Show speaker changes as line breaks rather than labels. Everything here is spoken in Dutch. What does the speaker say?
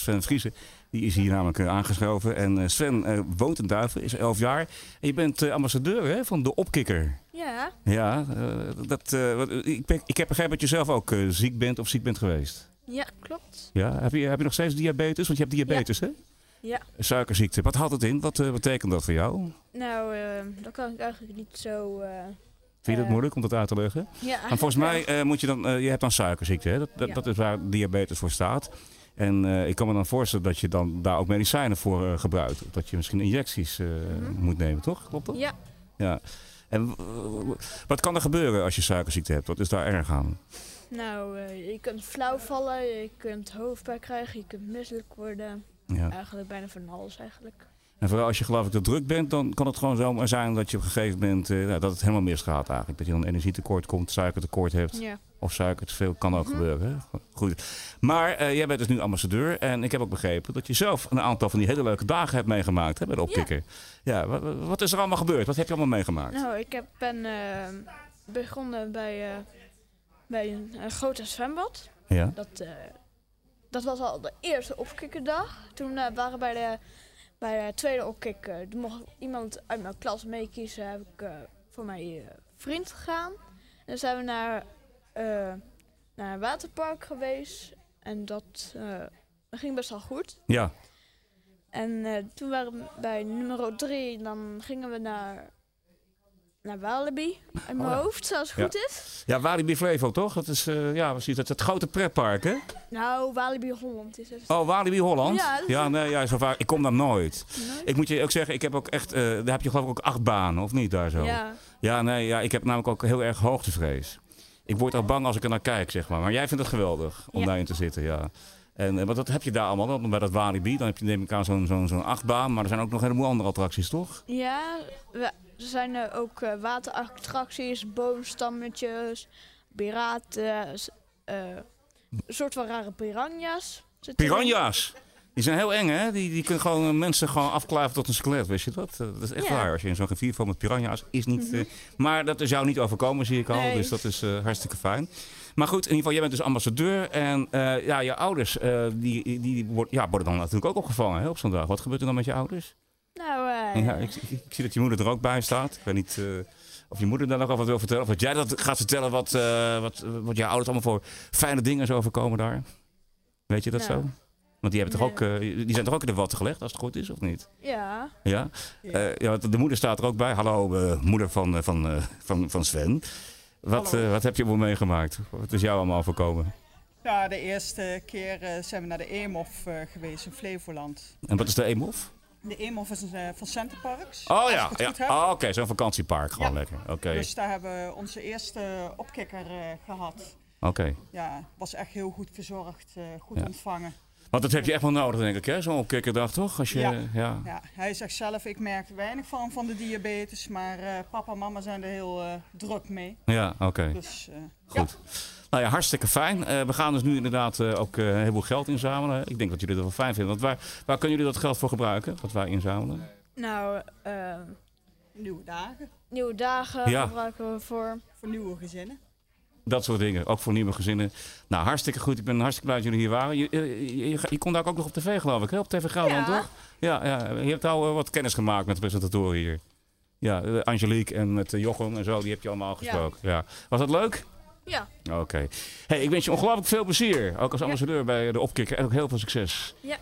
Sven Vriezen. Die is hier namelijk eh, aangeschoven. En eh, Sven eh, woont in Duiven, is 11 jaar. En je bent eh, ambassadeur hè, van de opkikker.
Ja,
Ja, eh, dat, eh, wat- ik, ben- ik heb begrepen dat je zelf ook eh, ziek bent of ziek bent geweest.
ja, klopt.
Ja, heb je, heb je nog steeds diabetes? Want je hebt diabetes, hè?
Ja.
Suikerziekte. Wat had het in? Wat eh, betekent dat voor jou? Vind
Nou, eh, dat kan ik eigenlijk niet zo. eh,
je dat
Eh,
moeilijk om dat uit te leggen?
Ah, ja,
En volgens mij eh, moet je dan, eh, je hebt dan suikerziekte, hè? Dat, dat,
Ja.
dat is waar diabetes voor staat. En eh, ik kan me dan voorstellen dat je dan daar ook medicijnen voor eh, gebruikt. Of Dat je misschien injecties eh,
Mhm.
moet nemen, toch? Klopt dat?
Ja.
ja. En w- w- wat kan er gebeuren als je suikerziekte hebt? Wat is daar erg aan?
Nou, eh, je kunt flauw vallen, je kunt hoofdpijn krijgen, je kunt misselijk worden.
Ja.
Eigenlijk bijna van alles eigenlijk.
En vooral als je geloof ik te druk bent, dan kan het gewoon zomaar zijn dat je op een gegeven moment eh, nou, dat het helemaal misgaat eigenlijk. Dat je dan energietekort komt, suikertekort hebt.
Ja.
Of suiker te veel kan ook
Mhm.
gebeuren. hè? Goed. Maar eh, jij bent dus nu ambassadeur. En ik heb ook begrepen dat je zelf een aantal van die hele leuke dagen hebt meegemaakt hè, bij de opkikker. Ja, wa- wa- wat, is er allemaal gebeurd? Wat heb je allemaal meegemaakt?
Nou, ik heb, ben eh, begonnen bij, eh, bij een, een grote zwembad.
Ja.
Dat, eh, dat was al de eerste opkikkerdag. Toen eh, waren we bij de, bij de tweede opkikker. Toen mocht iemand uit mijn klas meekiezen. Heb ik eh, voor mijn eh, vriend gegaan. En dan zijn we naar, eh, naar een waterpark geweest. En dat eh, dat ging best wel goed.
ja.
En eh, toen waren we bij nummer 3. Dan gingen we naar, naar Walibi. In mijn
Oh ja.
hoofd, zoals het
Ja.
goed is.
Ja, Walibi Flevo toch? Dat is, eh, ja, precies. Dat, dat grote pretpark hè?
Nou, Walibi Holland is het.
Oh, Walibi Holland?
Ja, dat is-
nee, ja, zo vaak. Ik kom daar nooit.
Nooit.
Ik moet je ook zeggen, ik heb ook echt, eh, daar heb je geloof ik ook acht banen of niet daar zo?
Ja.
Ja, nee, ja, ik heb namelijk ook heel erg hoogtevrees. Ik word al bang als ik er naar kijk, zeg maar. Maar jij vindt het geweldig om
Ja.
daarin te zitten, ja. En eh, want dat heb je daar allemaal, dan bij dat Walibi. Dan heb je neem ik aan zo'n zo'n zo'n achtbaan. Maar er zijn ook nog een heleboel andere attracties, toch?
Ja, we- er zijn eh, ook eh, waterattracties, boomstammetjes, piraten, s- eh, een soort van rare piranha's. zitten erin.
Piranha's! Die zijn heel eng, hè? Die, die kunnen gewoon eh, mensen gewoon afklaven tot een skelet, weet je dat? Eh, dat is echt
Ja. Mhm.
waar. Als je in zo'n gevier van met piranha's is niet... eh, maar dat is jou niet overkomen, zie ik al.
Nee.
Dus dat is eh, hartstikke fijn. Maar goed, in ieder geval, jij bent dus ambassadeur. En eh, ja, je ouders, eh, die, die, die worden, ja, worden dan natuurlijk ook opgevangen hè, op zo'n dag. Wat gebeurt er dan met je ouders?
Nou, eh,
Ja, ik, ik- ik zie dat je moeder er ook bij staat. Ik weet niet eh, of je moeder daar nog over wil vertellen. Of dat jij dat gaat vertellen wat, eh, wat, wat jouw ouders allemaal voor fijne dingen is overkomen daar. Weet je dat
Nou.
zo? Want die, hebben toch
Nee.
ook, eh, die zijn toch ook in de watten gelegd, als het goed is, of niet?
ja.
Ja?
Ja.
Eh, ja, want de moeder staat er ook bij. Hallo, eh, moeder van, eh, van, eh, van, van Sven. Wat,
Hallo.
eh, wat heb je voor meegemaakt? Wat is jou allemaal overkomen?
Ja, de eerste keer eh, zijn we naar de Eemhof eh, geweest in Flevoland.
En wat is de Eemhof?
De Eemhof is een, eh, van Centerparks.
Oh
Als
ja,
ik het
ja.
goed heb.
Ah, oké, zo'n vakantiepark. Gewoon
Ja.
lekker. Oké,
Dus daar hebben we onze eerste opkikker eh, gehad.
oké.
Ja, was echt heel goed verzorgd, eh, goed
Ja.
ontvangen.
Want dat heb je echt wel nodig, denk ik, hè? Zo'n opkikkerdag, toch? Als je,
Ja.
ja.
Ja, hij zegt zelf, ik merk er weinig van van de diabetes, maar eh, papa en mama zijn er heel eh, druk mee.
Ja, oké.
Dus eh,
Goed. Nou ja, hartstikke fijn. Eh, we gaan dus nu inderdaad eh, ook eh, een heleboel geld inzamelen. Ik denk dat jullie dat wel fijn vinden. Want waar, waar kunnen jullie dat geld voor gebruiken? Wat wij inzamelen?
Nou, eh,
nieuwe dagen
nieuwe dagen
Ja.
gebruiken we voor.
voor nieuwe gezinnen.
Dat soort dingen. Ook voor nieuwe gezinnen. Nou, hartstikke goed. Ik ben hartstikke blij dat jullie hier waren. Je, eh, je, je, je kon daar ook nog op tv, geloof ik, hè? Op TV Gelderland,
Ja.
Nou, toch? Ja, ja, je hebt al eh, wat kennis gemaakt met de presentatoren hier. Ja, eh, Angelique en met eh, Jochem en zo, die heb je allemaal gesproken. Ja. Was dat leuk?
Ja,
Oké. Hey, ik wens je ongelooflijk veel plezier. Ook als ambassadeur bij de Opkikker. En ook heel veel succes.
Ja.